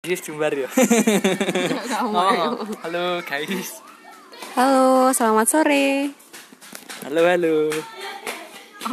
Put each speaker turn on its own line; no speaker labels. Guys jembar ya.
Oh,
Halo guys.
Halo, selamat sore.
Halo halo.